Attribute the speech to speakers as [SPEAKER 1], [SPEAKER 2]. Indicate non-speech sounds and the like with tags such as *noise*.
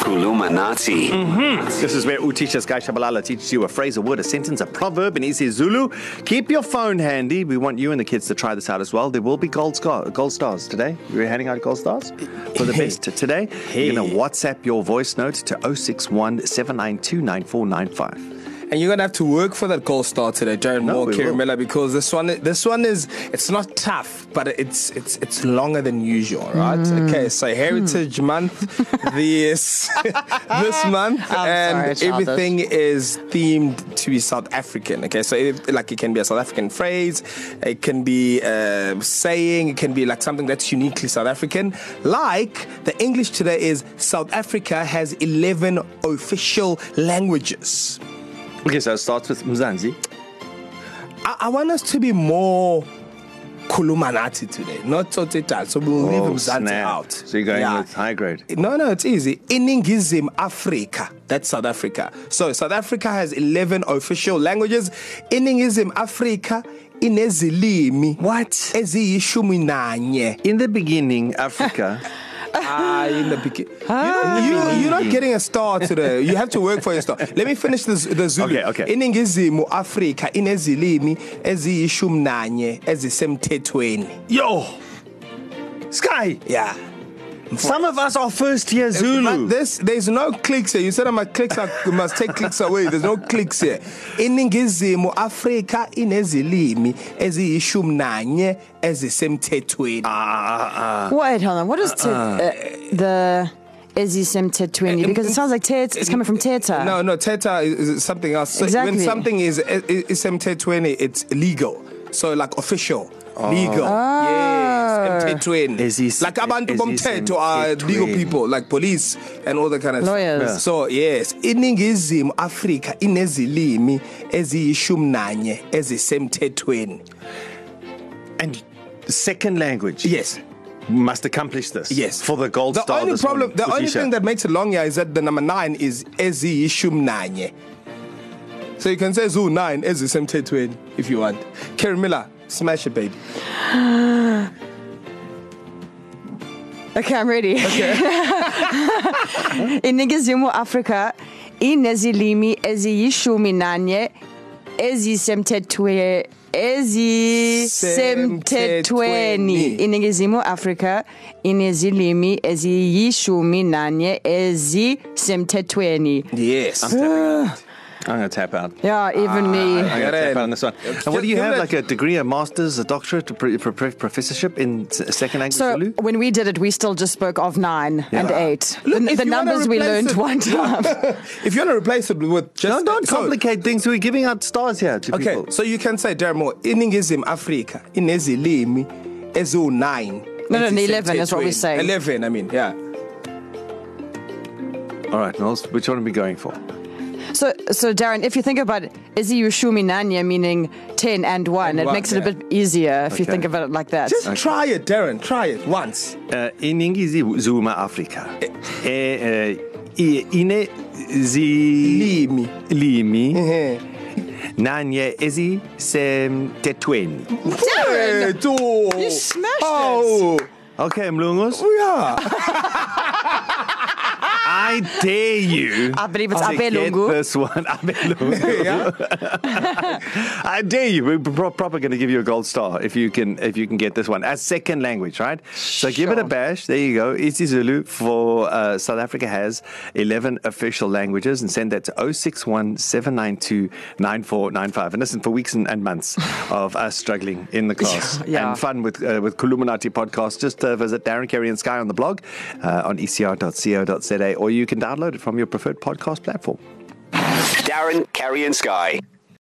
[SPEAKER 1] Zulumanati.
[SPEAKER 2] This is where Utisha's Geisha Balala teaches you a phrase, a word, a sentence, a proverb in isiZulu. Keep your phone handy. We want you and the kids to try this out as well. There will be gold, sco- gold stars today. We're handing out gold stars for the best today. You're going to WhatsApp your voice note to 061 792 9495.
[SPEAKER 3] And you're gonna have to work for that gold star today, Jared
[SPEAKER 2] No,
[SPEAKER 3] Moore,
[SPEAKER 2] we
[SPEAKER 3] Kerry
[SPEAKER 2] will.
[SPEAKER 3] Miller, because this one this one is it's not tough, but it's it's it's longer than usual, right? Okay, so Heritage Month this *laughs* this month
[SPEAKER 4] I'm
[SPEAKER 3] and
[SPEAKER 4] sorry, childish.
[SPEAKER 3] everything is themed to be South African. Okay, so if, like it can be a South African phrase, it can be a saying, it can be like something that's uniquely South African. Like the English today is South Africa has 11 official languages.
[SPEAKER 2] Okay, so it starts with Mzanzi.
[SPEAKER 3] I, I want us to be more Kulumanati today, not Toteta. So we'll leave him Zanzi out.
[SPEAKER 2] Oh, So you're going with high grade.
[SPEAKER 3] No, no, it's easy. Iningizim Africa. That's South Africa. So South Africa has 11 official languages. Iningizim Africa inezilimi.
[SPEAKER 2] What?
[SPEAKER 3] Eziyishumi nanye.
[SPEAKER 2] In the beginning, Africa.
[SPEAKER 3] Ah, in the beginning.
[SPEAKER 2] Ah.
[SPEAKER 3] You, you, you're not getting a star today. You have to work for your star. Let me finish this, the Zulu.
[SPEAKER 2] Okay, okay.
[SPEAKER 3] Iningizimu Afrika inezilimi eziyishumi nanye ezisemthethweni.
[SPEAKER 2] *laughs* Yo! Sky!
[SPEAKER 3] Yeah.
[SPEAKER 2] Some of us are first year
[SPEAKER 3] But
[SPEAKER 2] Zulu.
[SPEAKER 3] this, there's no clicks here. You said my clicks are, you must take clicks away. There's no clicks here. Iningizimu Afrika inezilimi eziyishumi nanye ezisemthethweni.
[SPEAKER 2] Ah,
[SPEAKER 4] Wait, hold on. What is te- uh, the Ezisem Tetwini? Because it sounds like Tet. It's coming from Teta.
[SPEAKER 3] No, no, Teta is, is something else. So
[SPEAKER 4] Exactly.
[SPEAKER 3] When something is is MT20, it's legal. So like official. Legal.
[SPEAKER 4] Ah.
[SPEAKER 3] Yes. MT20.
[SPEAKER 2] Is this-
[SPEAKER 3] like abantu
[SPEAKER 2] is this
[SPEAKER 3] bomthetho are
[SPEAKER 2] MT20?
[SPEAKER 3] legal people, like police and all that kind of
[SPEAKER 4] Lawyers.
[SPEAKER 3] stuff. So yes, iningizimu Afrika inezilimi eziyishumi nanye ezisemthethweni.
[SPEAKER 2] And second language.
[SPEAKER 3] Yes.
[SPEAKER 2] must accomplish this.
[SPEAKER 3] Yes.
[SPEAKER 2] For the gold
[SPEAKER 3] the
[SPEAKER 2] star.
[SPEAKER 3] only
[SPEAKER 2] this
[SPEAKER 3] problem,
[SPEAKER 2] morning,
[SPEAKER 3] the only
[SPEAKER 2] Utisha.
[SPEAKER 3] thing that makes it long yeah, is that the number nine is eziyishumi nanye. So you can say zoo nine ezisemthethweni if you want. Kerry Miller, smash
[SPEAKER 2] *laughs*
[SPEAKER 3] it, baby.
[SPEAKER 4] Okay, I'm ready. Okay. Inigizimu Africa inezilimi eziyishumi nanye ezisemthethwe ezisemthethweni. Inigizimu Africa inezilimi eziyishumi nanye ezisemthethweni.
[SPEAKER 3] *laughs* Yes.
[SPEAKER 2] I'm going to tap out.
[SPEAKER 4] Yeah, even me.
[SPEAKER 2] I'm going to tap
[SPEAKER 3] Karen.
[SPEAKER 2] out on this one. And what do you
[SPEAKER 3] Give
[SPEAKER 2] have?
[SPEAKER 3] it-
[SPEAKER 2] Like a degree, a master's, a doctorate, a pre- pre- pre- professorship in s- second language
[SPEAKER 4] So
[SPEAKER 2] Zulu?
[SPEAKER 4] when we did it, we still just spoke of nine and eight.
[SPEAKER 3] Look,
[SPEAKER 4] the
[SPEAKER 3] if
[SPEAKER 4] the
[SPEAKER 3] you wanna
[SPEAKER 4] numbers we
[SPEAKER 3] replace
[SPEAKER 4] learned
[SPEAKER 3] it- *laughs*
[SPEAKER 4] one time.
[SPEAKER 3] if you want to replace it with just
[SPEAKER 2] No, don't
[SPEAKER 3] so-
[SPEAKER 2] complicate things. We're giving out stars here to
[SPEAKER 3] Okay,
[SPEAKER 2] people.
[SPEAKER 3] so you can say Dermo, iningizimu Africa inezilimi eziwu nine.
[SPEAKER 4] No, no, the 11 is what we're
[SPEAKER 3] ezisemthethweni.
[SPEAKER 4] saying.
[SPEAKER 3] Eleven, I mean, yeah.
[SPEAKER 2] All right, Nels, which one are we going for?
[SPEAKER 4] So, so Darren, if you think about Izzy Yushumi Nanya meaning 10 and 1,
[SPEAKER 3] And
[SPEAKER 4] it
[SPEAKER 3] one,
[SPEAKER 4] makes it
[SPEAKER 3] yeah.
[SPEAKER 4] a bit easier if you
[SPEAKER 2] Okay.
[SPEAKER 4] think about it like that.
[SPEAKER 3] Just try it, Darren. Try it once.
[SPEAKER 2] Uh, Iningizi Zuma Africa. Eh, eh, i- Ine zi
[SPEAKER 3] Limi.
[SPEAKER 2] limi
[SPEAKER 3] Eh.
[SPEAKER 2] nanye ezi sem tetweni.
[SPEAKER 4] Darren!
[SPEAKER 3] Great. Oh.
[SPEAKER 4] You smashed
[SPEAKER 3] oh.
[SPEAKER 2] Okay, Mlungos,
[SPEAKER 3] Oh, yeah.
[SPEAKER 2] I dare you.
[SPEAKER 4] I believe it's
[SPEAKER 2] to
[SPEAKER 4] Abelungu.
[SPEAKER 2] Get this one, *laughs* Abelungu.
[SPEAKER 3] yeah.
[SPEAKER 2] *laughs* I dare you. We're pro- proper going to give you a gold star if you can if you can get this one as second language, right? So give it a
[SPEAKER 4] Sure.
[SPEAKER 2] bash. There you go. isiZulu for uh, South Africa has eleven official languages, and send that to 061 792 9495. And listen for weeks and, and months of us struggling in the class
[SPEAKER 4] yeah.
[SPEAKER 2] and fun with uh, with Kuluminati podcast. Just uh, visit Darren Kerry and Sky on the blog uh, on ecr.co.za, or you can download it from your preferred podcast platform.
[SPEAKER 1] Darren, Carrie, and Sky.